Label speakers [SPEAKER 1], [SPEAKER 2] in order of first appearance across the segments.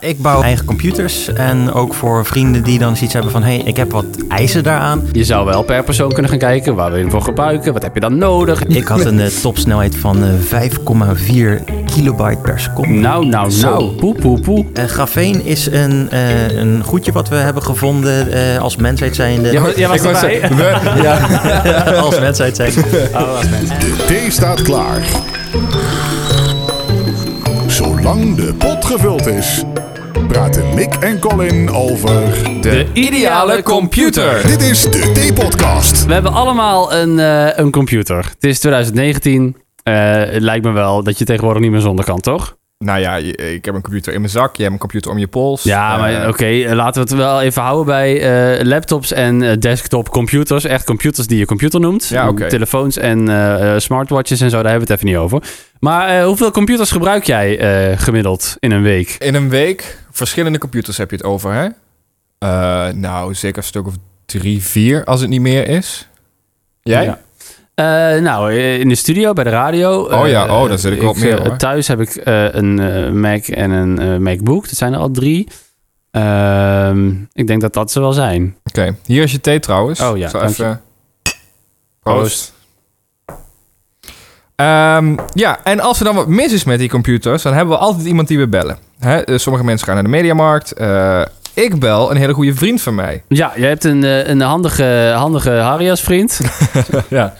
[SPEAKER 1] Ik bouw eigen computers en ook voor vrienden die dan zoiets hebben van... hé, hey, ik heb wat eisen daaraan.
[SPEAKER 2] Je zou wel per persoon kunnen gaan kijken waar we hem voor gebruiken. Wat heb je dan nodig?
[SPEAKER 1] Ik had een eh, topsnelheid van eh, 5,4 kilobyte per seconde.
[SPEAKER 2] Nou, nou, nou.
[SPEAKER 1] Zo.
[SPEAKER 2] Poe, poe, poe.
[SPEAKER 1] Eh grafeen is een, eh, een goedje wat we hebben gevonden eh, als mensheid zijnde.
[SPEAKER 2] Jij, jij was
[SPEAKER 3] Ik wou
[SPEAKER 2] erbij.
[SPEAKER 3] zeggen, we-
[SPEAKER 1] als mensheid zijnde.
[SPEAKER 4] De thee staat klaar. Zolang de pot gevuld is, praten Mick en Colin over.
[SPEAKER 2] De ideale computer.
[SPEAKER 4] Dit is de Thee-podcast.
[SPEAKER 2] We hebben allemaal een, eh, een computer. Het is 2019. Eh, het lijkt me wel dat je tegenwoordig niet meer zonder kan, toch?
[SPEAKER 3] Nou ja, je- ik heb een computer in mijn zak, jij hebt een computer om je pols.
[SPEAKER 2] Ja, maar
[SPEAKER 3] Eh,
[SPEAKER 2] oké, eh, laten we het wel even houden bij eh, laptops en eh, desktop computers. Echt computers die je computer noemt.
[SPEAKER 3] Ja, oké.
[SPEAKER 2] Telefoons en eh, eh, smartwatches en zo, daar hebben we het even niet over. Maar eh, hoeveel computers gebruik jij eh, gemiddeld in een week?
[SPEAKER 3] In een week, verschillende computers heb je het over, hè? Eh, nou, zeker een stuk of drie, vier, als het niet meer is. Jij?
[SPEAKER 2] Ja. Eh, nou, eh, in de studio, bij de radio.
[SPEAKER 3] Oh ja,
[SPEAKER 2] Eh,
[SPEAKER 3] oh, daar zit ik wel op
[SPEAKER 2] eh,
[SPEAKER 3] meer, hoor.
[SPEAKER 2] Thuis heb ik eh, een eh, Mac en een eh, MacBook. Dat zijn er al drie. Ehm, ik denk dat dat ze wel zijn.
[SPEAKER 3] Oké, hier is je thee trouwens.
[SPEAKER 2] Oh ja,
[SPEAKER 3] Zo
[SPEAKER 2] dank
[SPEAKER 3] even. Proost. Ehm, ja, en als er dan wat mis is met die computers, dan hebben we altijd iemand die we bellen. Hè? eh, Sommige mensen gaan naar de mediamarkt. Eh, ik bel een hele goede vriend van mij.
[SPEAKER 2] Ja, jij hebt een, eh, een handige, handige Harrias vriend.
[SPEAKER 3] Ja.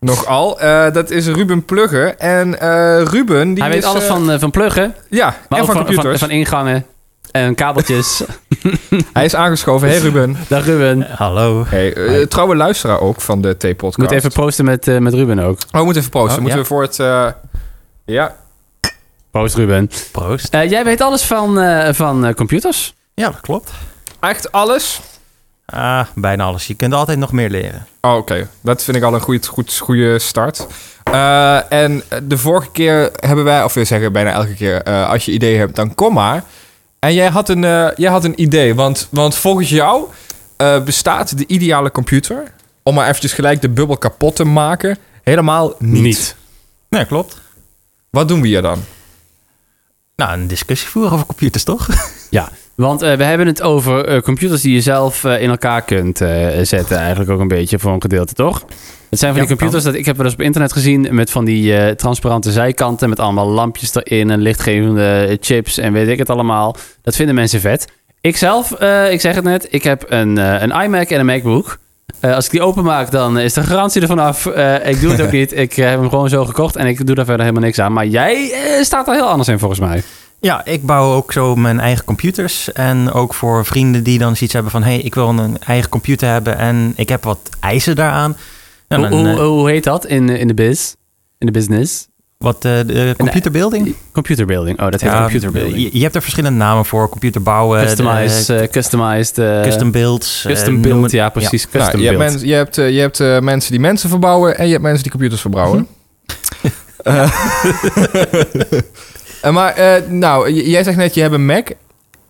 [SPEAKER 3] Nogal. eh, dat is Ruben Plugger. En eh, Ruben, die
[SPEAKER 2] Hij weet
[SPEAKER 3] is,
[SPEAKER 2] alles
[SPEAKER 3] eh,
[SPEAKER 2] van, eh, van pluggen,
[SPEAKER 3] Ja,
[SPEAKER 2] maar
[SPEAKER 3] en
[SPEAKER 2] ook
[SPEAKER 3] van
[SPEAKER 2] van, van,
[SPEAKER 3] computers.
[SPEAKER 2] van ingangen en kabeltjes.
[SPEAKER 3] Hij is aangeschoven. Hey Ruben.
[SPEAKER 2] Dag Ruben. Ik
[SPEAKER 1] Hallo.
[SPEAKER 3] Hey, eh, trouwe luisteraar ook van de T-podcast.
[SPEAKER 2] moet even proosten met, eh, met Ruben ook.
[SPEAKER 3] Oh, we moeten even posten.
[SPEAKER 2] Oh,
[SPEAKER 3] moeten
[SPEAKER 2] ja.
[SPEAKER 3] we voor het... eh, ja.
[SPEAKER 2] Proost Ruben.
[SPEAKER 1] Proost.
[SPEAKER 2] Eh, jij weet alles van, eh, van eh, computers.
[SPEAKER 1] Ja, dat klopt.
[SPEAKER 3] Echt alles.
[SPEAKER 1] Ah, bijna alles. Je kunt altijd nog meer leren.
[SPEAKER 3] Oh, Oké, dat vind ik al een goede, goed, goede start. Eh, en de vorige keer hebben wij, of we zeggen bijna elke keer, eh, als je ideeën hebt, dan kom maar. En jij had een, eh, jij had een idee, want, want volgens jou eh, bestaat de ideale computer, om maar eventjes gelijk de bubbel kapot te maken, helemaal niet.
[SPEAKER 1] Nee, klopt.
[SPEAKER 3] Wat doen we hier dan?
[SPEAKER 1] Nou, een discussie voeren over computers, toch?
[SPEAKER 2] Ja, want eh, we hebben het over eh, computers die je zelf eh, in elkaar kunt eh, zetten. Eigenlijk ook een beetje voor een gedeelte, toch? Het zijn van
[SPEAKER 1] Ja,
[SPEAKER 2] die computers dat ik heb wel eens op internet gezien met van die eh, transparante zijkanten met allemaal lampjes erin en lichtgevende eh, chips en weet ik het allemaal. Dat vinden mensen vet. Ik zelf, eh, ik zeg het net, ik heb een, eh, een iMac en een MacBook. Eh, als ik die openmaak, dan is de garantie ervan af. Eh, ik doe het ook niet. Ik eh, heb hem gewoon zo gekocht en ik doe daar verder helemaal niks aan. Maar jij eh, staat er heel anders in volgens mij.
[SPEAKER 1] Ja, ik bouw ook zo mijn eigen computers. En ook voor vrienden die dan zoiets hebben van... hé, hey, ik wil een eigen computer hebben en ik heb wat eisen daaraan. En
[SPEAKER 2] Hoe,
[SPEAKER 1] dan,
[SPEAKER 2] hoe,
[SPEAKER 1] eh,
[SPEAKER 2] hoe heet dat in, in de biz? In de business?
[SPEAKER 1] wat eh, de computerbuilding?
[SPEAKER 2] Computerbuilding. Oh, dat heet computerbuilding.
[SPEAKER 1] Je, je hebt er verschillende namen voor. Computerbouwen,
[SPEAKER 2] customized, eh, customized, eh,
[SPEAKER 1] eh, custom builds. eh,
[SPEAKER 2] custom
[SPEAKER 1] noem
[SPEAKER 2] build.
[SPEAKER 1] het-
[SPEAKER 2] ja, precies. Custom
[SPEAKER 3] Nou, je, hebt
[SPEAKER 2] build.
[SPEAKER 3] mensen- je hebt, eh, je hebt eh, mensen die mensen verbouwen en je hebt mensen die computers verbouwen. Eh, eh, maar eh, nou, j- jij zegt net, je hebt een Mac.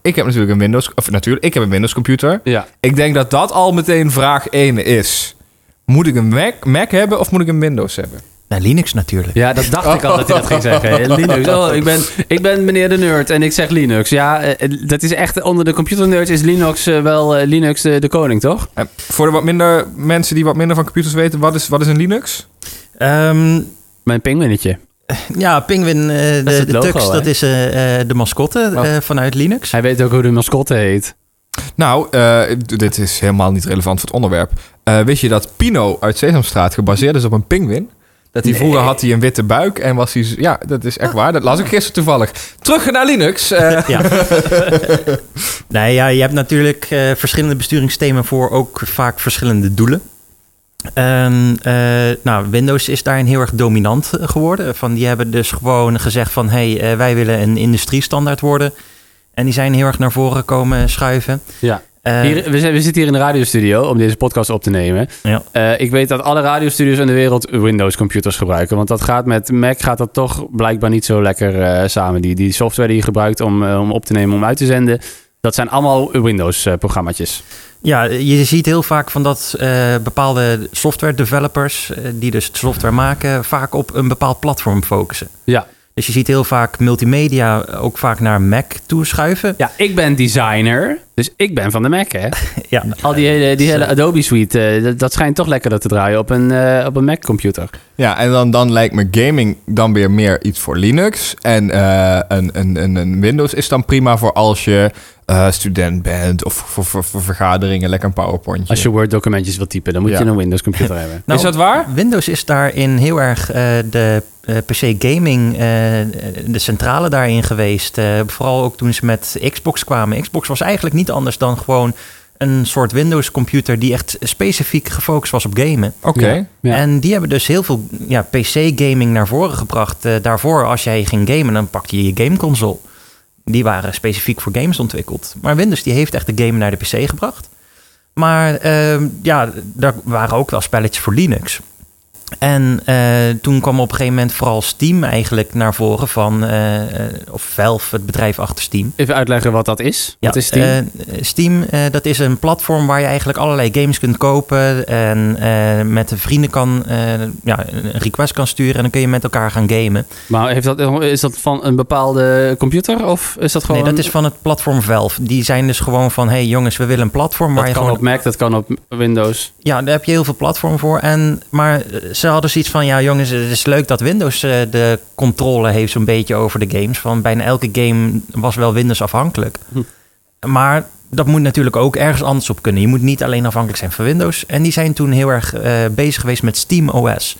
[SPEAKER 3] Ik heb natuurlijk een Windows, of natuurlijk, ik heb een Windows computer.
[SPEAKER 2] Ja.
[SPEAKER 3] Ik denk dat dat al meteen vraag 1 is. Moet ik een Mac, Mac hebben of moet ik een Windows hebben?
[SPEAKER 1] Nou, Linux natuurlijk.
[SPEAKER 2] ja, dat dacht ik al dat hij dat ging zeggen. Linux. Oh, ik ben, ik ben meneer de nerd en ik zeg Linux. Ja, eh, dat is echt onder de computernerds is Linux eh, wel eh, Linux de, de koning, toch?
[SPEAKER 3] En voor de wat minder mensen die wat minder van computers weten, wat is, wat is een Linux?
[SPEAKER 1] Ehm,
[SPEAKER 2] Mijn pinguinetje.
[SPEAKER 1] ja, Penguin, eh, de,
[SPEAKER 2] is het
[SPEAKER 1] de
[SPEAKER 2] logo,
[SPEAKER 1] Tux,
[SPEAKER 2] hè?
[SPEAKER 1] dat is eh, eh, de mascotte
[SPEAKER 3] Oh.
[SPEAKER 1] eh, vanuit Linux.
[SPEAKER 2] Hij weet ook hoe de mascotte heet.
[SPEAKER 3] Nou, eh, d- dit is helemaal niet relevant voor het onderwerp. Eh, wist je dat Pino uit Sesamstraat gebaseerd is op een pinguïn? Dat hij vroeger had hij een witte buik en was hij... z- Ja, dat is echt waar. Dat las ik gisteren toevallig. Terug naar Linux. eh.
[SPEAKER 1] Ja. nee, ja, je hebt natuurlijk eh, verschillende besturingssystemen voor ook vaak verschillende doelen. En, eh, nou, Windows is daarin heel erg dominant eh, geworden. Van, die hebben dus gewoon gezegd van... hé, hey, eh, wij willen een industriestandaard worden. En die zijn heel erg naar voren komen schuiven.
[SPEAKER 2] Ja.
[SPEAKER 1] Eh,
[SPEAKER 2] Hier, we, zijn- we zitten hier in de radiostudio om deze podcast op te nemen.
[SPEAKER 1] Ja.
[SPEAKER 2] Eh, ik weet dat alle radiostudios in de wereld Windows-computers gebruiken. Want dat gaat met Mac gaat dat toch blijkbaar niet zo lekker eh, samen. Die, die software die je gebruikt om, eh, om op te nemen, om uit te zenden. Dat zijn allemaal eh, Windows-programmaatjes.
[SPEAKER 1] Ja, je ziet heel vaak van dat eh, bepaalde software developers... eh, die dus software maken, vaak op een bepaald platform focussen.
[SPEAKER 2] Ja.
[SPEAKER 1] Dus je ziet heel vaak multimedia ook vaak naar Mac toeschuiven.
[SPEAKER 2] Ja, ik ben designer, dus ik ben van de Mac, hè?
[SPEAKER 1] Ja,
[SPEAKER 2] Al die hele, die
[SPEAKER 1] Dus,
[SPEAKER 2] hele
[SPEAKER 1] eh,
[SPEAKER 2] Adobe Suite, eh, dat- dat schijnt toch lekkerder te draaien op een, eh, op een Mac-computer.
[SPEAKER 3] Ja, en dan, dan lijkt me gaming dan weer meer iets voor Linux. En eh, een, een, een, een Windows is dan prima voor als je eh, student bent of voor, voor, voor vergaderingen, lekker een PowerPointje.
[SPEAKER 2] Als je Word-documentjes wilt typen, dan moet
[SPEAKER 3] Ja.
[SPEAKER 2] je een Windows-computer hebben.
[SPEAKER 1] Nou,
[SPEAKER 3] is dat waar?
[SPEAKER 1] Windows is daarin heel erg eh, de eh, PC gaming, eh, de centrale daarin geweest. Eh, vooral ook toen ze met Xbox kwamen. Xbox was eigenlijk niet anders dan gewoon een soort Windows computer die echt specifiek gefocust was op gamen.
[SPEAKER 3] Oké.
[SPEAKER 2] Ja.
[SPEAKER 1] En die hebben dus heel veel ja, PC-gaming naar voren gebracht. Eh, daarvoor, als jij ging gamen, dan pakte je je gameconsole. Die waren specifiek voor games ontwikkeld. Maar Windows die heeft echt de game naar de PC gebracht. Maar ehm, ja, daar waren ook wel spelletjes voor Linux. En eh, toen kwam op een gegeven moment vooral Steam eigenlijk naar voren van... eh, eh, of Valve, het bedrijf achter Steam.
[SPEAKER 2] Even uitleggen wat dat is. wat is Steam?
[SPEAKER 1] eh, Steam, eh, dat is een platform waar je eigenlijk allerlei games kunt kopen. En eh, met de vrienden kan, eh, ja, een request kan sturen. En dan kun je met elkaar gaan gamen.
[SPEAKER 2] maar heeft dat, is dat van een bepaalde computer of is dat gewoon...
[SPEAKER 1] Nee, dat is van het platform Valve. Die zijn dus gewoon van, hey jongens, we willen een platform waar
[SPEAKER 2] dat
[SPEAKER 1] je
[SPEAKER 2] kan
[SPEAKER 1] gewoon...
[SPEAKER 2] op Mac, dat kan op Windows.
[SPEAKER 1] Ja, daar heb je heel veel platform voor. En, maar eh, ze hadden zoiets van, ja jongens, het is leuk dat Windows eh, de controle heeft zo'n beetje over de games. Van bijna elke game was wel Windows afhankelijk.
[SPEAKER 2] Hm.
[SPEAKER 1] Maar dat moet natuurlijk ook ergens anders op kunnen. Je moet niet alleen afhankelijk zijn van Windows. En die zijn toen heel erg eh, bezig geweest met Steam OS.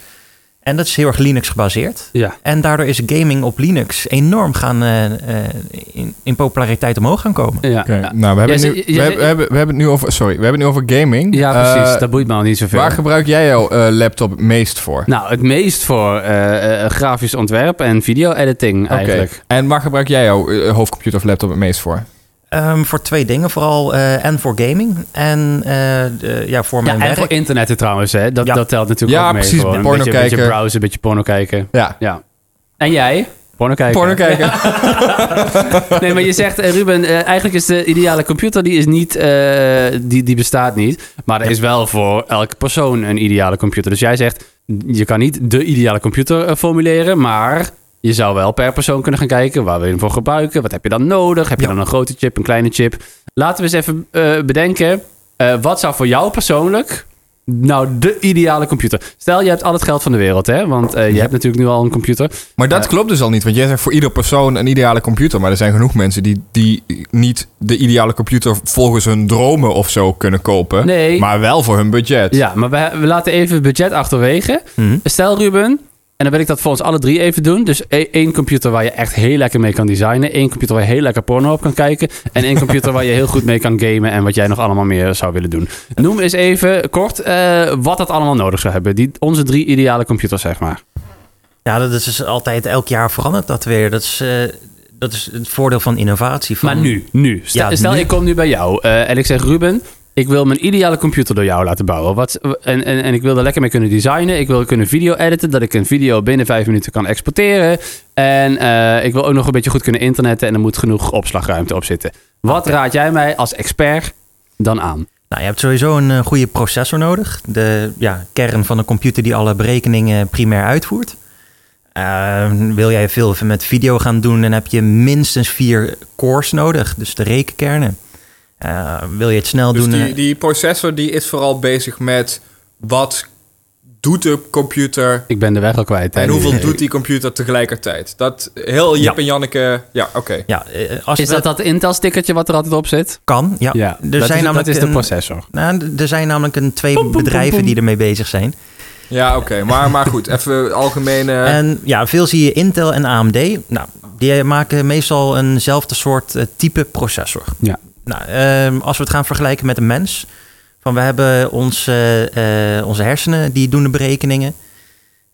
[SPEAKER 1] En dat is heel erg Linux gebaseerd.
[SPEAKER 2] Ja.
[SPEAKER 1] En daardoor is gaming op Linux enorm gaan eh, eh, in, in populariteit omhoog gaan komen.
[SPEAKER 2] Ja,
[SPEAKER 3] Oké, Nou, we hebben,
[SPEAKER 2] Jij
[SPEAKER 3] het
[SPEAKER 2] zei-
[SPEAKER 3] nu,
[SPEAKER 2] jij
[SPEAKER 3] we,
[SPEAKER 2] zei-
[SPEAKER 3] hebben, we, hebben, we hebben het nu over. Sorry, we hebben het nu over gaming.
[SPEAKER 2] ja precies.
[SPEAKER 3] Eh,
[SPEAKER 2] dat boeit me al niet zoveel.
[SPEAKER 3] waar gebruik jij jouw eh, laptop het meest voor?
[SPEAKER 2] Nou, het meest voor eh, eh, grafisch ontwerp en video-editing
[SPEAKER 3] Oké.
[SPEAKER 2] eigenlijk.
[SPEAKER 3] En waar gebruik jij jouw eh, hoofdcomputer of laptop het meest voor?
[SPEAKER 1] Ehm, voor twee dingen vooral. eh, en voor gaming. En eh, de- ja, voor
[SPEAKER 2] Ja,
[SPEAKER 1] mijn
[SPEAKER 2] en
[SPEAKER 1] werk.
[SPEAKER 2] voor internet trouwens, hè. Dat,
[SPEAKER 1] Ja.
[SPEAKER 2] dat telt natuurlijk
[SPEAKER 3] Ja,
[SPEAKER 2] ook mee.
[SPEAKER 3] precies,
[SPEAKER 2] gewoon.
[SPEAKER 3] porno
[SPEAKER 2] beetje, beetje
[SPEAKER 3] kijken.
[SPEAKER 2] browsen, beetje porno kijken.
[SPEAKER 3] Ja.
[SPEAKER 2] Ja. En jij? Porno kijken.
[SPEAKER 3] Porno kijken.
[SPEAKER 2] Nee, maar je zegt, eh, Ruben, eh, eigenlijk is de ideale computer, die is niet, eh, die, die bestaat niet. Maar er is wel voor elke persoon een ideale computer. Dus jij zegt, je kan niet de ideale computer eh, formuleren, maar je zou wel per persoon kunnen gaan kijken, waar wil je hem voor gebruiken? Wat heb je dan nodig? Heb je
[SPEAKER 1] Ja.
[SPEAKER 2] dan een grote chip, een kleine chip? Laten we eens even eh, bedenken, eh, wat zou voor jou persoonlijk nou de ideale computer? Stel, je hebt al het geld van de wereld, hè? Want eh, je hebt natuurlijk nu al een computer.
[SPEAKER 3] Maar dat
[SPEAKER 2] Ja.
[SPEAKER 3] klopt dus al niet, want jij zegt voor ieder persoon een ideale computer. Maar er zijn genoeg mensen die, die niet de ideale computer volgens hun dromen of zo kunnen kopen.
[SPEAKER 2] Nee.
[SPEAKER 3] Maar wel voor hun budget.
[SPEAKER 2] Ja, maar we, we laten even het budget achterwege.
[SPEAKER 1] Mhm.
[SPEAKER 2] Stel Ruben, en dan wil ik dat voor ons alle drie even doen. Dus e- één computer waar je echt heel lekker mee kan designen. één computer waar je heel lekker porno op kan kijken. En één computer waar je heel goed mee kan gamen. En wat jij nog allemaal meer zou willen doen. Noem eens even kort eh, wat dat allemaal nodig zou hebben. Die, onze drie ideale computers, zeg maar.
[SPEAKER 1] Ja, dat is dus altijd elk jaar verandert dat weer. Dat is, eh, dat is het voordeel van innovatie. Van,
[SPEAKER 2] Maar nu, nu. Stel,
[SPEAKER 1] Ja,
[SPEAKER 2] stel
[SPEAKER 1] nu.
[SPEAKER 2] ik kom nu bij jou eh, en ik zeg Ruben, ik wil mijn ideale computer door jou laten bouwen. Wat, en, en, en ik wil er lekker mee kunnen designen. Ik wil kunnen video editen, dat ik een video binnen vijf minuten kan exporteren. En eh, ik wil ook nog een beetje goed kunnen internetten en er moet genoeg opslagruimte op zitten. Wat raad jij mij als expert dan aan?
[SPEAKER 1] Nou, je hebt sowieso een eh, goede processor nodig. De ja, kern van een computer die alle berekeningen primair uitvoert. Eh, wil jij veel met video gaan doen, dan heb je minstens vier cores nodig. Dus de rekenkernen. Eh, wil je het snel doen? eh,
[SPEAKER 3] Dus die processor die is vooral bezig met wat doet de computer
[SPEAKER 2] Ik ben de weg al kwijt. hè, nu.
[SPEAKER 3] die computer tegelijkertijd. Dat heel
[SPEAKER 1] Jip Ja.
[SPEAKER 3] en Janneke. Ja, oké.
[SPEAKER 1] ja, eh, als
[SPEAKER 2] Is
[SPEAKER 1] we-
[SPEAKER 2] dat dat Intel-stickertje wat er altijd op zit?
[SPEAKER 1] kan, ja.
[SPEAKER 2] Ja,
[SPEAKER 1] er
[SPEAKER 2] dat,
[SPEAKER 1] zijn
[SPEAKER 2] is, dat
[SPEAKER 1] namelijk
[SPEAKER 2] is de
[SPEAKER 1] een-
[SPEAKER 2] processor.
[SPEAKER 1] Nou, d- er zijn namelijk een twee
[SPEAKER 2] Poem, poem,
[SPEAKER 1] bedrijven
[SPEAKER 2] poem, poem.
[SPEAKER 1] die ermee bezig zijn.
[SPEAKER 3] Ja, oké. Maar, maar goed, even algemene...
[SPEAKER 1] En ja, veel zie je Intel en AMD. Nou, die maken meestal eenzelfde soort eh, type processor.
[SPEAKER 2] Ja.
[SPEAKER 1] Nou, ehm, als we het gaan vergelijken met een mens. Van we hebben ons, eh, eh, onze hersenen, die doen de berekeningen.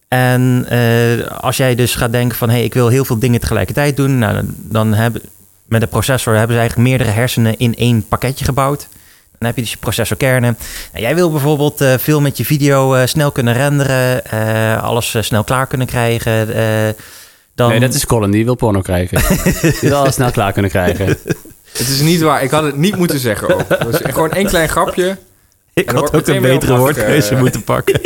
[SPEAKER 1] En eh, als jij dus gaat denken van... hé, hey, ik wil heel veel dingen tegelijkertijd doen... Nou, dan, dan hebben, met de processor hebben ze eigenlijk meerdere hersenen in één pakketje gebouwd. Dan heb je dus je processorkernen. Nou, jij wil bijvoorbeeld eh, veel met je video eh, snel kunnen renderen... eh, alles eh, snel klaar kunnen krijgen... eh, dan...
[SPEAKER 2] Nee, dat is Colin, die wil porno krijgen. die wil alles snel klaar kunnen krijgen.
[SPEAKER 3] Het is niet waar. Ik had het niet moeten zeggen ook. Het was gewoon één klein grapje.
[SPEAKER 1] Ik
[SPEAKER 3] En dan
[SPEAKER 1] had
[SPEAKER 3] wordt
[SPEAKER 1] ook een
[SPEAKER 3] meteen weer
[SPEAKER 1] betere
[SPEAKER 3] heel makkelijk,
[SPEAKER 1] woordkeuze
[SPEAKER 3] eh,
[SPEAKER 1] moeten pakken.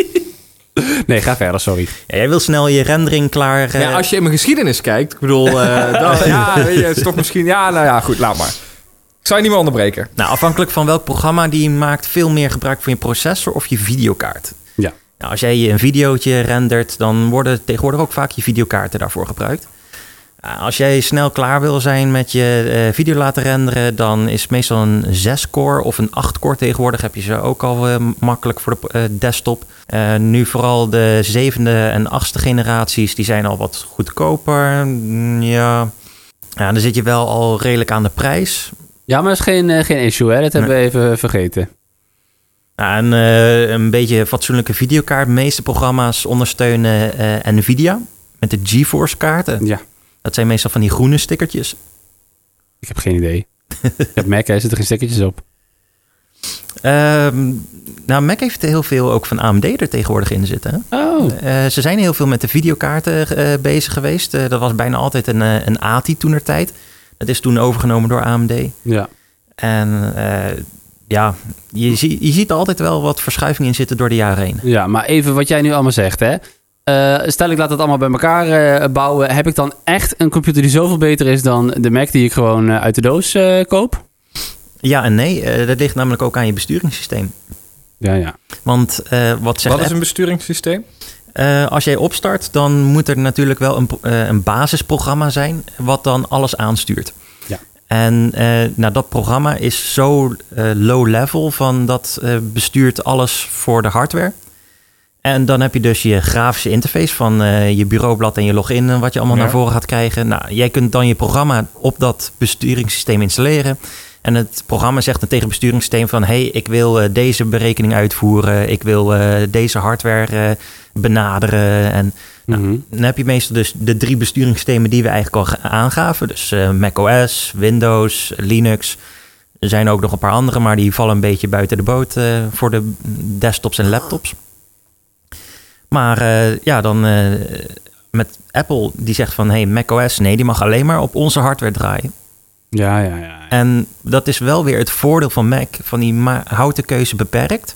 [SPEAKER 2] Nee, ga verder, sorry.
[SPEAKER 1] Ja, jij wil snel je rendering klaar. eh,
[SPEAKER 3] Ja, als je in mijn geschiedenis kijkt, ik bedoel, eh, dan- ja, weet je, het is toch misschien, ja, nou ja, goed, laat maar. Ik zou je niet meer onderbreken.
[SPEAKER 1] Nou, afhankelijk van welk programma die je maakt, veel meer gebruik van je processor of je videokaart.
[SPEAKER 2] Ja.
[SPEAKER 1] Nou, als jij een videootje rendert, dan worden tegenwoordig ook vaak je videokaarten daarvoor gebruikt. Ah, Als jij snel klaar wil zijn met je eh, video laten renderen, dan is meestal een 6-core of een 8-core tegenwoordig. Heb je ze ook al eh, makkelijk voor de eh, desktop. Eh, nu vooral de zevende en achtste generaties, die zijn al wat goedkoper. Mm, Ja. ja, dan zit je wel al redelijk aan de prijs.
[SPEAKER 2] Ja, maar dat is geen, eh, geen issue, hè? Dat hebben we even eh, vergeten.
[SPEAKER 1] Ja, en, eh, een beetje fatsoenlijke videokaart. De meeste programma's ondersteunen eh, Nvidia met de GeForce kaarten.
[SPEAKER 2] Ja,
[SPEAKER 1] Dat zijn meestal van die groene stickertjes.
[SPEAKER 2] ik heb geen idee. ik heb Mac, hè? Zitten geen stekkertjes op.
[SPEAKER 1] Ehm, nou, Mac heeft heel veel ook van AMD er tegenwoordig in zitten. hè?
[SPEAKER 2] Oh.
[SPEAKER 1] Eh, ze zijn heel veel met de videokaarten eh, bezig geweest. Eh, dat was bijna altijd een, eh, een ATI toen tijd. Dat is toen overgenomen door AMD.
[SPEAKER 2] Ja.
[SPEAKER 1] En eh, ja, je, zie- je ziet er altijd wel wat verschuiving in zitten door de jaren heen.
[SPEAKER 2] ja, maar even wat jij nu allemaal zegt, hè? Eh, stel ik laat het allemaal bij elkaar eh, bouwen. Heb ik dan echt een computer die zoveel beter is dan de Mac die ik gewoon eh, uit de doos eh, koop?
[SPEAKER 1] Ja en nee, eh, dat ligt namelijk ook aan je besturingssysteem.
[SPEAKER 2] Ja, ja.
[SPEAKER 1] Want eh, wat zegt
[SPEAKER 3] Wat is een besturingssysteem?
[SPEAKER 1] Eh, als jij opstart, dan moet er natuurlijk wel een, pro- eh, een basisprogramma zijn wat dan alles aanstuurt.
[SPEAKER 2] Ja.
[SPEAKER 1] En eh, nou, dat programma is zo eh, low level van dat eh, bestuurt alles voor de hardware. En dan heb je dus je grafische interface van eh, je bureaublad en je login en wat je allemaal
[SPEAKER 3] Ja.
[SPEAKER 1] naar voren gaat krijgen. Nou, jij kunt dan je programma op dat besturingssysteem installeren. En het programma zegt een tegenbesturingssysteem van... hey, ik wil eh, deze berekening uitvoeren. Ik wil eh, deze hardware eh, benaderen. En nou,
[SPEAKER 2] Mhm.
[SPEAKER 1] dan heb je meestal dus de drie besturingssystemen die we eigenlijk al ge- aangaven. Dus eh macOS, Windows, Linux. Er zijn ook nog een paar andere, maar die vallen een beetje buiten de boot eh, voor de desktops en laptops. Maar eh, ja, dan eh, met Apple die zegt van... hey, macOS, nee, die mag alleen maar op onze hardware draaien.
[SPEAKER 2] Ja, ja, ja.
[SPEAKER 1] En dat is wel weer het voordeel van Mac, van die ma- houdt de keuze beperkt.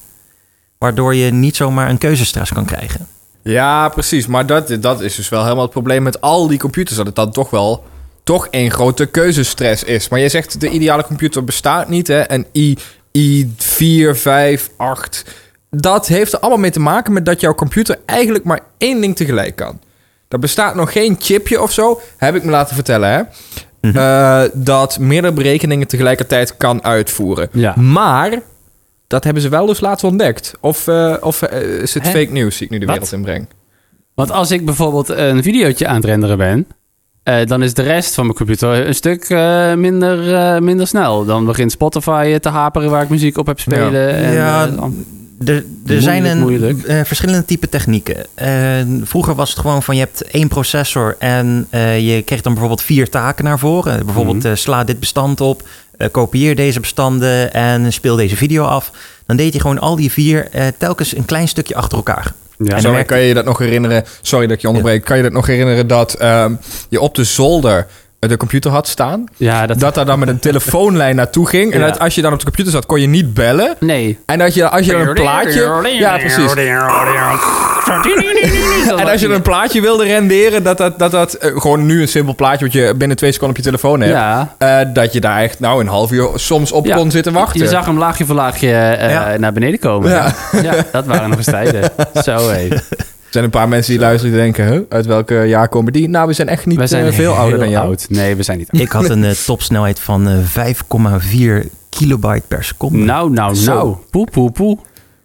[SPEAKER 1] Waardoor je niet zomaar een keuzestress kan krijgen.
[SPEAKER 3] Ja, precies. Maar dat, dat is dus wel helemaal het probleem met al die computers. Dat het dan toch wel toch één grote keuzestress is. Maar je zegt de ideale computer bestaat niet. Hè? En i, i 4, 5, 8. Dat heeft er allemaal mee te maken met dat jouw computer eigenlijk maar één ding tegelijk kan. Er bestaat nog geen chipje of zo, heb ik me laten vertellen. Hè?
[SPEAKER 1] Mhm.
[SPEAKER 3] Eh, dat meerdere berekeningen tegelijkertijd kan uitvoeren.
[SPEAKER 2] Ja.
[SPEAKER 3] Maar dat hebben ze wel dus laatst ontdekt. Of, eh, of eh, is het
[SPEAKER 2] Hè?
[SPEAKER 3] fake news die ik nu de
[SPEAKER 2] Wat?
[SPEAKER 3] wereld in breng?
[SPEAKER 2] Want als ik bijvoorbeeld een videootje aan het renderen ben, eh, dan is de rest van mijn computer een stuk eh, minder, eh, minder snel. Dan begint Spotify eh, te haperen waar ik muziek op heb spelen. Ja, en,
[SPEAKER 1] Ja,
[SPEAKER 2] eh, dan-
[SPEAKER 1] Er, er zijn een,
[SPEAKER 2] moeilijk.
[SPEAKER 1] eh, verschillende type technieken. Eh, vroeger was het gewoon van je hebt één processor en eh, je kreeg dan bijvoorbeeld vier taken naar voren. Bijvoorbeeld
[SPEAKER 2] Mhm.
[SPEAKER 1] eh, sla dit bestand op, eh, kopieer deze bestanden en speel deze video af. Dan deed je gewoon al die vier eh, telkens een klein stukje achter elkaar.
[SPEAKER 2] ja.
[SPEAKER 1] en-
[SPEAKER 3] Zo,
[SPEAKER 1] werkt-
[SPEAKER 3] kan je je dat nog herinneren? Sorry dat ik je onderbreek. Kan je dat nog herinneren dat ehm, je op de zolder eh, de computer had staan?
[SPEAKER 2] ja, dat,
[SPEAKER 3] Dat daar dan met een telefoonlijn naartoe ging. En
[SPEAKER 2] Ja.
[SPEAKER 3] dat als je dan op de computer zat, kon je niet bellen.
[SPEAKER 2] Nee.
[SPEAKER 3] En als je, als je dan een plaatje... Ja, precies. En als je dan een plaatje wilde renderen, dat dat... dat, dat eh, gewoon nu een simpel plaatje wat je binnen twee seconden op je telefoon hebt.
[SPEAKER 2] Ja.
[SPEAKER 3] eh, dat je daar echt nou een half uur soms op
[SPEAKER 2] Ja.
[SPEAKER 3] kon zitten wachten.
[SPEAKER 2] Je zag hem laagje voor laagje eh,
[SPEAKER 1] Ja.
[SPEAKER 2] naar beneden komen. Ja. dat waren nog eens tijden. Zo hé.
[SPEAKER 3] Er zijn een paar mensen die luisteren en denken... Huh, uit welke jaar komen die? Nou, we zijn echt niet
[SPEAKER 2] We zijn
[SPEAKER 3] eh, veel
[SPEAKER 2] heel
[SPEAKER 3] ouder dan jou.
[SPEAKER 2] oud. Nee, we zijn niet oud.
[SPEAKER 1] Ik had een eh, topsnelheid van eh, 5,4 kilobyte per seconde.
[SPEAKER 2] Nou, nou,
[SPEAKER 1] Zo.
[SPEAKER 2] nou. Poe, poe, poe.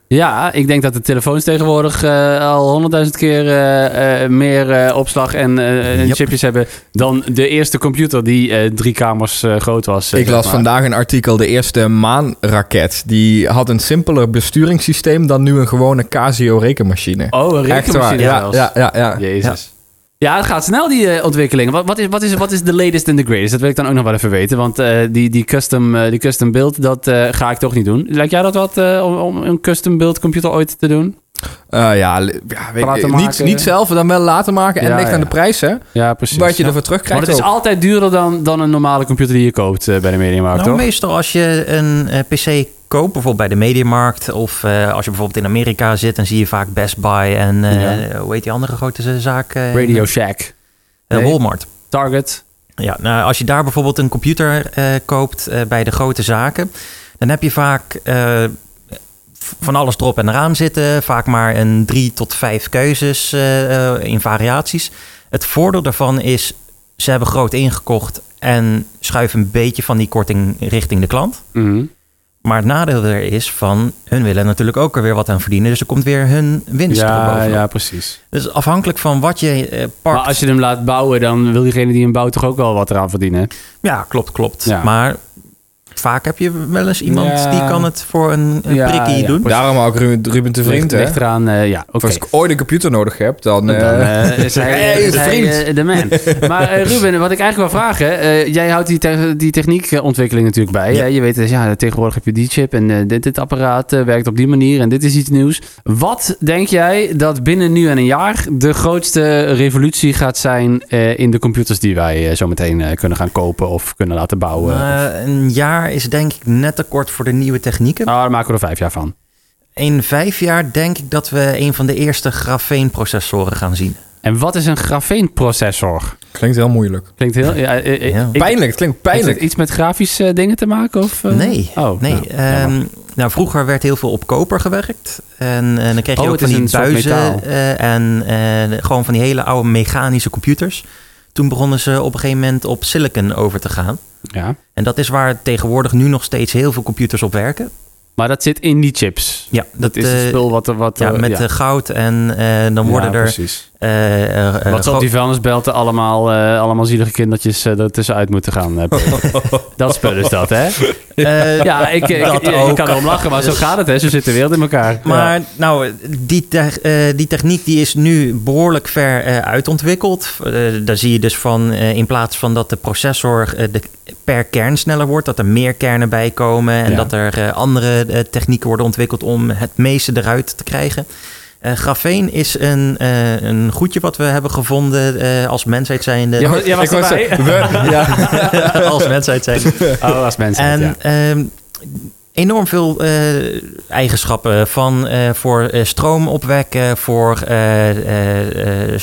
[SPEAKER 2] Ja, ik denk dat de telefoons tegenwoordig eh, al honderdduizend keer eh, eh, meer eh, opslag en eh, en
[SPEAKER 1] Yep.
[SPEAKER 2] chipjes hebben dan de eerste computer die eh, drie kamers eh, groot was. eh,
[SPEAKER 3] Ik
[SPEAKER 2] zeg
[SPEAKER 3] las
[SPEAKER 2] maar.
[SPEAKER 3] vandaag een artikel, de eerste maanraket. Die had een simpeler besturingssysteem dan nu een gewone Casio rekenmachine.
[SPEAKER 2] Oh, een
[SPEAKER 3] Echt waar.
[SPEAKER 2] rekenmachine
[SPEAKER 3] Ja,
[SPEAKER 2] zelfs.
[SPEAKER 3] ja, ja, ja.
[SPEAKER 2] Jezus. Ja. het gaat snel, die eh, ontwikkeling. Wat, wat, is, wat, is, wat is de latest and the greatest? Dat wil ik dan ook nog wel even weten. Want eh, die, die, custom, eh, die custom build, dat eh, ga ik toch niet doen. Lijkt jij dat wat eh, om, om een custom build computer ooit te doen?
[SPEAKER 3] Eh, ja, li- ja weet-
[SPEAKER 2] Laten
[SPEAKER 3] niet,
[SPEAKER 2] maken.
[SPEAKER 3] niet zelf, dan wel laten maken. En
[SPEAKER 2] Ja,
[SPEAKER 3] ligt aan
[SPEAKER 2] ja.
[SPEAKER 3] de prijs, hè?
[SPEAKER 2] Ja, precies.
[SPEAKER 3] Wat je
[SPEAKER 2] Ja.
[SPEAKER 3] ervoor
[SPEAKER 2] Maar
[SPEAKER 3] terugkrijgt
[SPEAKER 2] het is
[SPEAKER 3] ook.
[SPEAKER 2] altijd duurder dan, dan een normale computer die je koopt eh, bij de Mediamarkt,
[SPEAKER 1] Nou,
[SPEAKER 2] toch?
[SPEAKER 1] meestal als je een eh, PC koop, bijvoorbeeld bij de Mediamarkt. Of eh, als je bijvoorbeeld in Amerika zit, dan zie je vaak Best Buy en eh, hoe heet die andere grote zaak? eh,
[SPEAKER 2] Radio Shack,
[SPEAKER 1] eh,
[SPEAKER 2] nee.
[SPEAKER 1] Walmart.
[SPEAKER 2] Target.
[SPEAKER 1] Ja, nou, als je daar bijvoorbeeld een computer eh, koopt eh, bij de grote zaken, dan heb je vaak eh, v- van alles erop en eraan zitten. Vaak maar een drie tot vijf keuzes eh, eh, in variaties. Het voordeel daarvan is, ze hebben groot ingekocht en schuiven een beetje van die korting richting de klant.
[SPEAKER 2] Mhm.
[SPEAKER 1] Maar het nadeel er is van, hun willen natuurlijk ook er weer wat aan verdienen. Dus er komt weer hun winst
[SPEAKER 2] Ja,
[SPEAKER 1] erbovenop.
[SPEAKER 2] ja, precies.
[SPEAKER 1] Dus afhankelijk van wat je eh, pakt.
[SPEAKER 2] Maar als je hem laat bouwen, dan wil diegene die hem bouwt toch ook wel wat eraan verdienen. hè?
[SPEAKER 1] Ja, klopt, klopt.
[SPEAKER 2] Ja.
[SPEAKER 1] Maar vaak heb je wel eens iemand
[SPEAKER 3] Ja.
[SPEAKER 1] die kan het voor een, een
[SPEAKER 2] Ja,
[SPEAKER 1] prikkie
[SPEAKER 2] ja.
[SPEAKER 1] doen.
[SPEAKER 3] Daarom ook Ruben, Ruben te vriend,
[SPEAKER 2] Ligt-
[SPEAKER 3] hè?
[SPEAKER 2] Ligt eraan, eh, ja, oké.
[SPEAKER 3] Als ik ooit een computer nodig heb, dan... eh,
[SPEAKER 2] Dan eh, is hij,
[SPEAKER 3] Hey,
[SPEAKER 2] is hij,
[SPEAKER 3] vriend.
[SPEAKER 2] eh, de man. Maar eh, Ruben, wat ik eigenlijk wil vragen. eh, jij houdt die, te- die techniekontwikkeling natuurlijk bij.
[SPEAKER 1] Ja.
[SPEAKER 2] hè? Je weet, eh, ja, tegenwoordig heb je die chip en eh, dit, dit apparaat eh, werkt op die manier en dit is iets nieuws. Wat denk jij dat binnen nu en een jaar de grootste revolutie gaat zijn eh, in de computers die wij eh, zo meteen eh, kunnen gaan kopen of kunnen laten bouwen?
[SPEAKER 1] Eh, een jaar is denk ik net te kort voor de nieuwe technieken.
[SPEAKER 2] Nou, daar maken we er vijf jaar van.
[SPEAKER 1] In vijf jaar denk ik dat we een van de eerste grafeenprocessoren gaan zien.
[SPEAKER 2] En wat is een grafeenprocessor?
[SPEAKER 3] Klinkt heel moeilijk.
[SPEAKER 2] Klinkt heel... Ja, eh, eh,
[SPEAKER 1] Ja.
[SPEAKER 2] ik-
[SPEAKER 3] pijnlijk, het klinkt
[SPEAKER 2] Heeft
[SPEAKER 3] pijnlijk.
[SPEAKER 2] het iets met grafische dingen te maken? Of, eh?
[SPEAKER 1] nee,
[SPEAKER 2] Oh,
[SPEAKER 1] nee.
[SPEAKER 2] nou,
[SPEAKER 1] Ehm,
[SPEAKER 2] jammer.
[SPEAKER 1] nou, vroeger werd heel veel op koper gewerkt. En, eh, dan kreeg je
[SPEAKER 2] Oh,
[SPEAKER 1] ook van
[SPEAKER 2] het is
[SPEAKER 1] die
[SPEAKER 2] een soort metaal.
[SPEAKER 1] buizen eh, en eh, gewoon van die hele oude mechanische computers. Toen begonnen ze op een gegeven moment op silicon over te gaan.
[SPEAKER 2] ja.
[SPEAKER 1] En dat is waar tegenwoordig nu nog steeds heel veel computers op werken.
[SPEAKER 2] Maar dat zit in die chips.
[SPEAKER 1] Ja,
[SPEAKER 2] Dat is het
[SPEAKER 1] eh,
[SPEAKER 2] spul wat... er- wat
[SPEAKER 1] ja,
[SPEAKER 2] eh,
[SPEAKER 1] met eh, goud en eh, dan worden
[SPEAKER 2] Ja,
[SPEAKER 1] er...
[SPEAKER 2] Precies.
[SPEAKER 1] eh, eh, eh,
[SPEAKER 2] wat ze op
[SPEAKER 1] gro-
[SPEAKER 2] die vuilnisbelten allemaal, eh, allemaal zielige kindertjes eh, er tussenuit moeten gaan. eh, pikken. dat spul is dat, hè?
[SPEAKER 1] eh,
[SPEAKER 2] Ja, ik, ik,
[SPEAKER 1] Dat
[SPEAKER 2] je- je
[SPEAKER 1] ook.
[SPEAKER 2] kan erom lachen, maar zo gaat het, hè? Zo zit de wereld in elkaar.
[SPEAKER 1] Maar nou, die, te- eh, die techniek die is nu behoorlijk ver eh, uitontwikkeld. Eh, daar zie je dus van eh, in plaats van dat de processor eh, de, per kern sneller wordt, dat er meer kernen bij komen en
[SPEAKER 2] Ja.
[SPEAKER 1] dat er eh, andere eh, technieken worden ontwikkeld om het meeste eruit te krijgen. Eh grafeen is een, eh, een goedje wat we hebben gevonden eh, als mensheid zijnde.
[SPEAKER 2] Ja, jij was
[SPEAKER 3] Ik wou
[SPEAKER 2] erbij.
[SPEAKER 3] zeggen, we- ja. nou,
[SPEAKER 1] als mensheid zijnde.
[SPEAKER 2] Ja. Oh, als mensen.
[SPEAKER 1] En
[SPEAKER 2] ja.
[SPEAKER 1] ehm, enorm veel eh, eigenschappen van eh, voor eh, stroom opwekken, voor eh,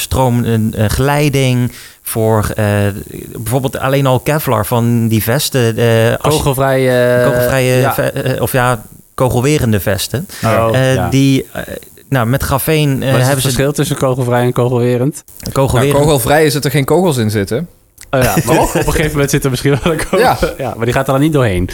[SPEAKER 1] stroomgeleiding, eh, voor eh, bijvoorbeeld alleen al Kevlar van die vesten. eh, als je-
[SPEAKER 2] Kogelvrij... eh,
[SPEAKER 1] kogelvrije,
[SPEAKER 2] ja.
[SPEAKER 1] ve- eh, of ja, kogelwerende vesten.
[SPEAKER 2] Oh,
[SPEAKER 1] Eh,
[SPEAKER 2] ja.
[SPEAKER 1] Die, eh, nou, met grafeen eh,
[SPEAKER 2] Wat is het
[SPEAKER 1] hebben ze
[SPEAKER 2] verschil tussen kogelvrij en kogelwerend?
[SPEAKER 3] Nou,
[SPEAKER 1] kogelwerend.
[SPEAKER 3] kogelvrij is dat er geen kogels in zitten.
[SPEAKER 2] Oh ja, maar op een gegeven moment zit er misschien wel een kogel.
[SPEAKER 3] Ja.
[SPEAKER 2] ja, maar die gaat er dan niet doorheen.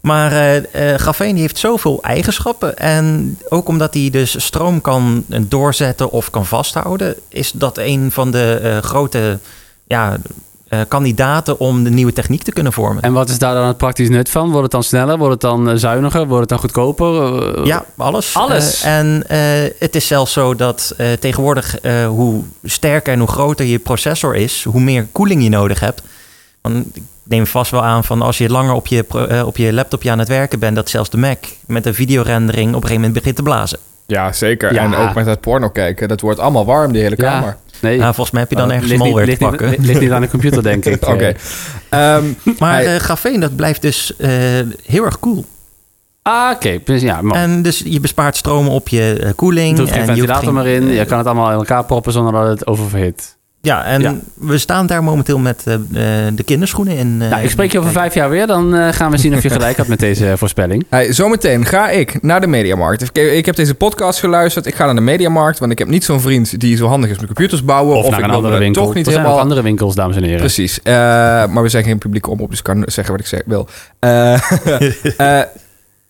[SPEAKER 1] Maar eh eh grafeen heeft zoveel eigenschappen. En ook omdat hij dus stroom kan eh, doorzetten of kan vasthouden, is dat een van de eh, grote ja, eh, kandidaten om de nieuwe techniek te kunnen vormen.
[SPEAKER 2] En wat is daar dan het praktisch nut van? Wordt het dan sneller? Wordt het dan eh, zuiniger? Wordt het dan goedkoper? Eh,
[SPEAKER 1] ja, alles.
[SPEAKER 2] Alles.
[SPEAKER 1] Eh, en eh, het is zelfs zo dat eh, tegenwoordig eh, hoe sterker en hoe groter je processor is, hoe meer koeling je nodig hebt. Want ik neem vast wel aan van als je langer op je, pro- eh, op je laptopje aan het werken bent, dat zelfs de Mac met de videorendering op een gegeven moment begint te blazen.
[SPEAKER 3] Ja, zeker.
[SPEAKER 2] Ja.
[SPEAKER 3] En ook met het porno kijken. Dat wordt allemaal warm, die hele
[SPEAKER 2] Ja.
[SPEAKER 3] kamer.
[SPEAKER 2] Nee.
[SPEAKER 1] Nou, volgens mij heb je dan
[SPEAKER 2] Oh,
[SPEAKER 1] ergens
[SPEAKER 2] ligt niet-
[SPEAKER 1] malware te
[SPEAKER 2] ligt niet-
[SPEAKER 1] pakken.
[SPEAKER 2] Ligt niet aan de computer, denk ik.
[SPEAKER 3] Oké.
[SPEAKER 2] Eh,
[SPEAKER 3] Ehm,
[SPEAKER 1] Maar
[SPEAKER 3] Hey.
[SPEAKER 1] eh grafeen, dat blijft dus eh, heel erg cool.
[SPEAKER 2] Ah, oké. Dus ja, man.
[SPEAKER 1] En dus je bespaart stromen op je eh, koeling.
[SPEAKER 2] Je doet geen
[SPEAKER 1] en je hoeft
[SPEAKER 2] ventilator maar in.
[SPEAKER 1] eh,
[SPEAKER 2] Je kan het allemaal in elkaar proppen zonder dat het oververhit.
[SPEAKER 1] Ja, en
[SPEAKER 2] Ja.
[SPEAKER 1] we staan daar momenteel met eh, eh, de kinderschoenen in. eh,
[SPEAKER 2] nou, ik spreek je over vijf jaar weer. Dan eh, gaan we zien of je gelijk had met deze eh, voorspelling.
[SPEAKER 3] hey, zometeen ga ik naar de Mediamarkt. Ik, ik heb deze podcast geluisterd. Ik ga naar de Mediamarkt, want ik heb niet zo'n vriend die zo handig is met computers bouwen.
[SPEAKER 2] Of, naar
[SPEAKER 3] ik
[SPEAKER 2] een
[SPEAKER 3] wil me
[SPEAKER 2] andere
[SPEAKER 3] daar
[SPEAKER 2] winkel.
[SPEAKER 3] toch niet
[SPEAKER 2] er zijn ook
[SPEAKER 3] helemaal...
[SPEAKER 2] andere winkels, dames en heren.
[SPEAKER 3] Precies. Eh, maar we zijn geen publieke omroep, dus ik kan zeggen wat ik zeg, wil. Eh, eh,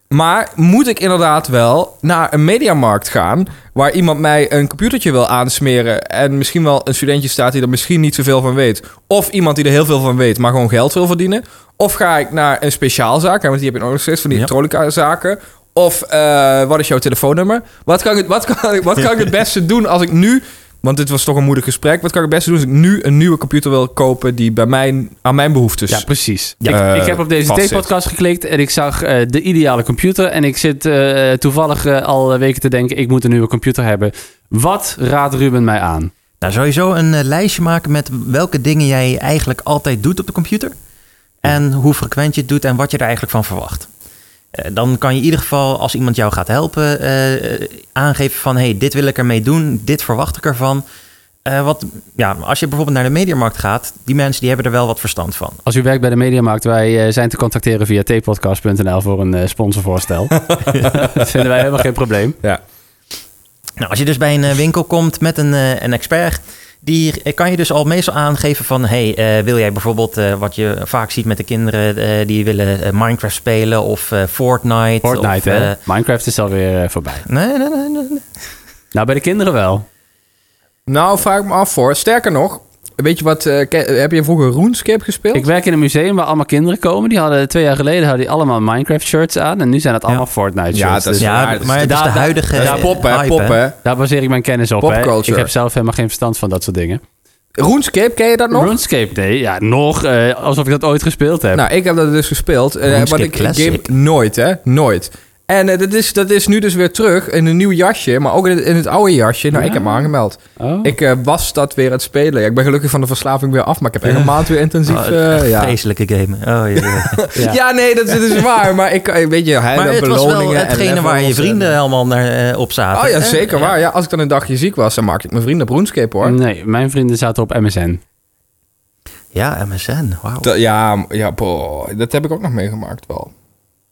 [SPEAKER 3] maar moet ik inderdaad wel naar een mediamarkt gaan... waar iemand mij een computertje wil aansmeren... en misschien wel een studentje staat die er misschien niet zoveel van weet... of iemand die er heel veel van weet, maar gewoon geld wil verdienen... of ga ik naar een speciaalzaak, hè, want die heb je ook nog steeds... van die
[SPEAKER 1] Ja.
[SPEAKER 3] elektronica-zaken... Of eh, wat is jouw telefoonnummer? Wat kan, ik, wat, kan ik, wat kan ik het beste doen als ik nu... Want dit was toch een moedig gesprek. Wat kan ik het beste doen als ik nu een nieuwe computer wil kopen... die bij mijn, aan mijn behoeftes...
[SPEAKER 2] Ja, precies.
[SPEAKER 3] Ja.
[SPEAKER 2] Dus ik, ik
[SPEAKER 3] Eh,
[SPEAKER 2] heb op deze
[SPEAKER 3] vastzit.
[SPEAKER 2] T-podcast geklikt en ik zag eh, de ideale computer. En ik zit eh, toevallig eh, al weken te denken, ik moet een nieuwe computer hebben. Wat raadt Ruben mij aan?
[SPEAKER 1] Nou, sowieso een eh, lijstje maken met welke dingen jij eigenlijk altijd doet op de computer. En hoe frequent je het doet en wat je er eigenlijk van verwacht. Eh, dan kan je in ieder geval, als iemand jou gaat helpen, eh, aangeven van... hey, dit wil ik ermee doen, dit verwacht ik ervan. Eh wat, ja, als je bijvoorbeeld naar de mediamarkt gaat, die mensen die hebben er wel wat verstand van.
[SPEAKER 2] Als u werkt bij de Mediamarkt, wij eh, zijn te contacteren via tpodcast.nl voor een eh, sponsorvoorstel. dat vinden wij helemaal geen probleem.
[SPEAKER 3] Ja.
[SPEAKER 1] Nou, als je dus bij een eh, winkel komt met een, eh, een expert, die eh, kan je dus al meestal aangeven van... hey, eh, wil jij bijvoorbeeld eh, wat je vaak ziet met de kinderen eh, die willen eh, Minecraft spelen of eh, Fortnite...
[SPEAKER 2] Fortnite,
[SPEAKER 1] of,
[SPEAKER 2] hè?
[SPEAKER 1] eh,
[SPEAKER 2] Minecraft is alweer eh, voorbij.
[SPEAKER 1] nee, nee, nee, nee, nee.
[SPEAKER 2] Nou, bij de kinderen wel.
[SPEAKER 3] Nou, vraag ik me af voor. Sterker nog, weet je wat, eh, ke- heb je vroeger RuneScape gespeeld?
[SPEAKER 2] Ik werk in een museum waar allemaal kinderen komen. Die hadden twee jaar geleden hadden die allemaal Minecraft shirts aan. En nu zijn het allemaal Fortnite shirts.
[SPEAKER 3] Ja, dat is-
[SPEAKER 2] Dus
[SPEAKER 1] Ja,
[SPEAKER 3] waar, dat is-
[SPEAKER 1] maar het is
[SPEAKER 2] daar-
[SPEAKER 1] de
[SPEAKER 2] daar-
[SPEAKER 1] huidige
[SPEAKER 3] dat is poppen, hè,
[SPEAKER 1] hype,
[SPEAKER 3] poppen. hè.
[SPEAKER 2] daar baseer ik mijn kennis op. Hè.
[SPEAKER 3] Popculture.
[SPEAKER 2] Ik heb zelf helemaal geen verstand van dat soort dingen.
[SPEAKER 3] RuneScape, ken je dat nog?
[SPEAKER 2] RuneScape, nee. Ja, nog. eh, alsof ik dat ooit gespeeld heb.
[SPEAKER 3] Nou, ik heb dat dus gespeeld. eh,
[SPEAKER 1] RuneScape
[SPEAKER 3] maar ik ik game
[SPEAKER 1] Classic.
[SPEAKER 3] nooit, hè? Nooit. En eh, dat, is, dat is nu dus weer terug in een nieuw jasje, maar ook in het, in het oude jasje. Nou,
[SPEAKER 2] Ja.
[SPEAKER 3] ik heb me aangemeld.
[SPEAKER 2] Oh.
[SPEAKER 3] Ik eh, was dat weer aan het spelen. Ja, ik ben gelukkig van de verslaving weer af, maar ik heb echt een maand weer intensief...
[SPEAKER 1] Oh,
[SPEAKER 3] eh,
[SPEAKER 1] Echt
[SPEAKER 3] ja.
[SPEAKER 1] Vreselijke game. Oh, jee.
[SPEAKER 3] Ja. nee, dat, dat is waar. Maar ik, eh, weet je, hij
[SPEAKER 1] maar
[SPEAKER 3] en
[SPEAKER 1] het was
[SPEAKER 3] beloningen
[SPEAKER 1] wel
[SPEAKER 3] en
[SPEAKER 1] hetgene waar je
[SPEAKER 3] levels en-
[SPEAKER 1] vrienden helemaal naar, eh, op zaten.
[SPEAKER 3] Oh ja,
[SPEAKER 1] hè?
[SPEAKER 3] zeker waar. Ja, Mm. als ik dan een dagje ziek was, dan maakte ik mijn vrienden op RuneScape, hoor.
[SPEAKER 2] Nee, mijn vrienden zaten op MSN.
[SPEAKER 1] Ja, MSN. Wauw.
[SPEAKER 3] Dat- ja, m- ja boh, dat heb ik ook nog meegemaakt wel.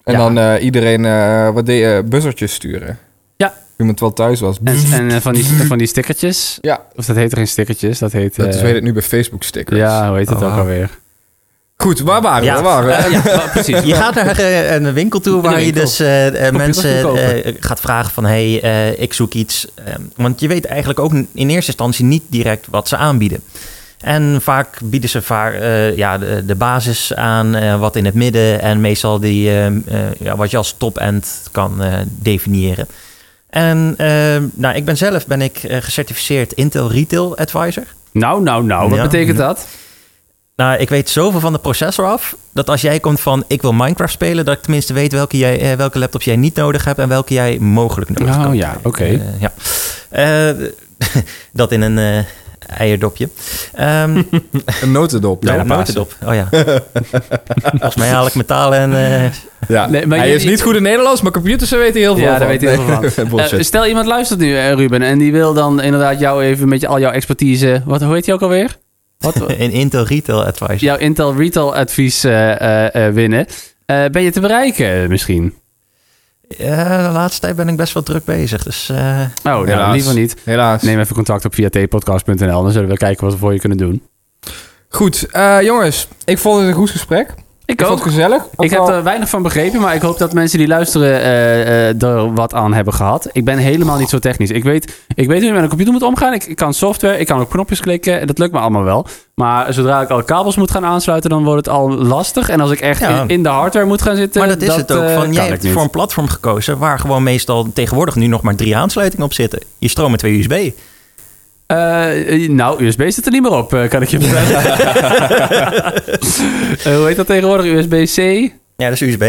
[SPEAKER 3] En
[SPEAKER 2] Ja.
[SPEAKER 3] dan eh, iedereen eh, wat deed je, buzzertjes sturen.
[SPEAKER 2] Ja.
[SPEAKER 3] Iemand wel thuis was.
[SPEAKER 2] En, en eh, van, die, van die stickertjes.
[SPEAKER 3] Ja,
[SPEAKER 2] Of dat heet er geen stickertjes, dat heet...
[SPEAKER 3] dat is,
[SPEAKER 2] eh,
[SPEAKER 3] weet het nu bij Facebook stickers.
[SPEAKER 2] Ja, hoe heet het
[SPEAKER 1] Oh,
[SPEAKER 2] ook
[SPEAKER 1] wauw.
[SPEAKER 2] alweer?
[SPEAKER 3] Goed, waar waren we?
[SPEAKER 1] Ja.
[SPEAKER 3] Waar waren we?
[SPEAKER 2] Eh, ja, precies.
[SPEAKER 1] Je gaat naar eh, een winkel toe waar je
[SPEAKER 2] winkel.
[SPEAKER 1] dus eh, eh, mensen
[SPEAKER 2] gaat kopen.
[SPEAKER 1] eh, gaat vragen van... hé, hey, eh, ik zoek iets. Eh, want je weet eigenlijk ook in eerste instantie niet direct wat ze aanbieden. En vaak bieden ze vaak, eh, ja, de, de basis aan, eh, wat in het midden... en meestal die, eh, eh, ja, wat je als top-end kan eh, definiëren. En eh, nou, ik ben zelf ben ik, eh, gecertificeerd Intel Retail Advisor.
[SPEAKER 2] Nou, nou, nou, wat
[SPEAKER 1] Ja.
[SPEAKER 2] betekent dat?
[SPEAKER 1] Nou, ik weet zoveel van de processor af. Dat als jij komt van ik wil Minecraft spelen, dat ik tenminste weet welke, jij, eh, welke laptops jij niet nodig hebt en welke jij mogelijk nodig
[SPEAKER 2] Oh
[SPEAKER 1] hebt.
[SPEAKER 2] ja, oké.
[SPEAKER 1] ja. Eh, dat in een eh, eierdopje. Ehm
[SPEAKER 3] Een notendop.
[SPEAKER 2] Ja.
[SPEAKER 3] Ja,
[SPEAKER 2] Bijna Pasen.
[SPEAKER 1] notendop. Oh ja. Volgens mij haal ik metalen en. eh,
[SPEAKER 2] Nee, maar
[SPEAKER 3] Hij
[SPEAKER 2] je-
[SPEAKER 3] is niet goed in Nederlands, maar computers daar weten heel veel
[SPEAKER 2] Ja,
[SPEAKER 3] van.
[SPEAKER 2] daar weet heel veel
[SPEAKER 3] Nee.
[SPEAKER 2] van.
[SPEAKER 3] Bullshit.
[SPEAKER 2] Eh, stel, iemand luistert nu, eh, Ruben, en die wil dan inderdaad jou even met je- al jouw expertise... Wat, hoe heet die ook alweer? Wat,
[SPEAKER 1] eh, in Intel Retail Advisor.
[SPEAKER 2] jouw Intel Retail advies eh, eh, eh, winnen. Eh, ben je te bereiken eh, misschien?
[SPEAKER 1] Eh, de laatste tijd ben ik best wel druk bezig. Dus eh,
[SPEAKER 2] Oh, nou,
[SPEAKER 3] Helaas.
[SPEAKER 2] liever niet.
[SPEAKER 3] Helaas.
[SPEAKER 2] Neem even contact op via tpodcast.nl. Dan zullen we kijken wat we voor je kunnen doen.
[SPEAKER 3] Goed, eh, jongens. Ik vond het een goed gesprek. Ik,
[SPEAKER 2] Ik
[SPEAKER 3] vond het gezellig. Ook
[SPEAKER 2] Ik heb
[SPEAKER 3] wel-
[SPEAKER 2] er weinig van begrepen, maar ik hoop dat mensen die luisteren eh, eh, er wat aan hebben gehad. Ik ben helemaal niet zo technisch. Ik weet, ik weet hoe je met een computer moet omgaan. Ik, ik kan software, ik kan ook knopjes klikken. Dat lukt me allemaal wel. Maar zodra ik al kabels moet gaan aansluiten, dan wordt het al lastig. En als ik echt
[SPEAKER 1] Ja.
[SPEAKER 2] in, in de hardware moet gaan zitten,
[SPEAKER 1] maar dat is het ook.
[SPEAKER 2] eh,
[SPEAKER 1] Van, jij
[SPEAKER 2] kan ik
[SPEAKER 1] hebt
[SPEAKER 2] niet.
[SPEAKER 1] voor een platform gekozen waar gewoon meestal tegenwoordig nu nog maar drie aansluitingen op zitten. Je stroomt met twee USB.
[SPEAKER 2] Eh, eh, nou, USB zit er niet meer op, eh, kan ik je vertellen. Eh, hoe heet dat tegenwoordig? USB-C?
[SPEAKER 1] Ja, dat is USB.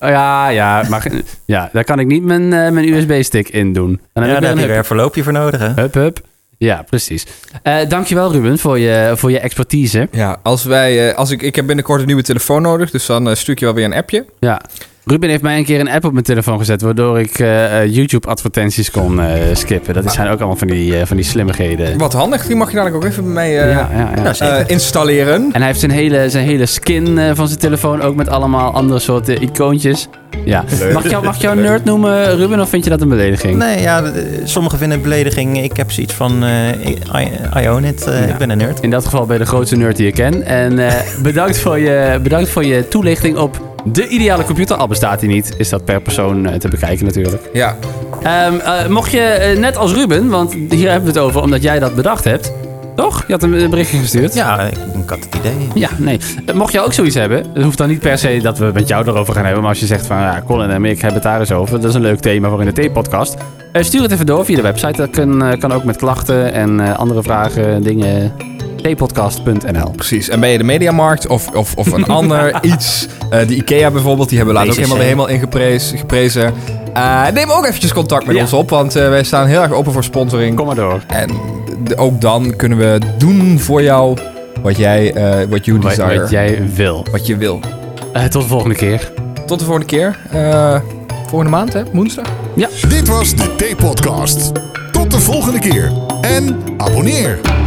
[SPEAKER 2] Oh, ja, ja, maar ge- ja, daar kan ik niet mijn, eh, mijn USB-stick in doen. En dan
[SPEAKER 1] ja,
[SPEAKER 2] ik
[SPEAKER 1] daar
[SPEAKER 2] weer
[SPEAKER 1] heb je
[SPEAKER 2] een
[SPEAKER 1] weer een verloopje voor nodig, hè?
[SPEAKER 2] Hup, hup. Ja, precies. Eh, dankjewel Ruben voor je, voor je expertise.
[SPEAKER 3] Ja, als wij... eh, als ik, ik heb binnenkort een nieuwe telefoon nodig, dus dan eh, stuur ik je wel weer een appje.
[SPEAKER 2] Ja. Ruben heeft mij een keer een app op mijn telefoon gezet, waardoor ik eh, eh, YouTube-advertenties kon eh, skippen. Dat zijn ook allemaal van die, eh, van die slimmigheden.
[SPEAKER 3] Wat handig. Die mag je dadelijk ook even bij mij eh,
[SPEAKER 2] ja, ja, ja.
[SPEAKER 1] Nou, zeker.
[SPEAKER 3] eh, installeren.
[SPEAKER 2] En hij heeft zijn hele, zijn hele skin eh, van zijn telefoon ook met allemaal andere soorten icoontjes. Ja. Mag ik jou, mag ik jou nerd noemen, Ruben, of vind je dat een belediging?
[SPEAKER 1] Nee, ja, eh, sommigen vinden het belediging. Ik heb zoiets van, eh, I, I own it. Eh, Ik ben een nerd.
[SPEAKER 2] In dat geval ben je de grootste nerd die je ken. En eh, bedankt, voor je, bedankt voor je toelichting op de ideale computer. Al bestaat die niet, is dat per persoon eh, te bekijken natuurlijk.
[SPEAKER 3] Ja.
[SPEAKER 2] Ehm, eh, mocht je, eh, net als Ruben, want hier hebben we het over omdat jij dat bedacht hebt. Toch? Je had een een berichtje gestuurd.
[SPEAKER 1] Ja, ik, ik had het idee.
[SPEAKER 2] Ja, nee. Eh, Mocht je ook zoiets hebben, het hoeft dan niet per se dat we het met jou erover gaan hebben. Maar als je zegt van, ja, Colin en ik hebben het daar eens over. Dat is een leuk thema voor in de T-podcast. Eh, stuur het even door via de website. Dat kan, eh, kan ook met klachten en eh, andere vragen, dingen. tpodcast.nl
[SPEAKER 3] Precies. En ben je de Mediamarkt of, of, of een ander iets? eh, de IKEA bijvoorbeeld, die hebben we laatst ook
[SPEAKER 1] Jezus,
[SPEAKER 3] helemaal, helemaal ingeprezen. Geprezen. Eh, neem ook eventjes contact met
[SPEAKER 2] Ja.
[SPEAKER 3] ons op, want eh, wij staan heel erg open voor sponsoring.
[SPEAKER 2] Kom maar door.
[SPEAKER 3] En d- ook dan kunnen we doen voor jou wat jij, eh, wat you
[SPEAKER 2] Wat,
[SPEAKER 3] desire. Wat,
[SPEAKER 2] wat jij wil.
[SPEAKER 3] je wil.
[SPEAKER 2] Eh, tot de volgende keer.
[SPEAKER 3] tot de volgende keer. Eh, volgende maand, hè? Woensdag.
[SPEAKER 4] Dit was de T-podcast. Tot de volgende keer en abonneer.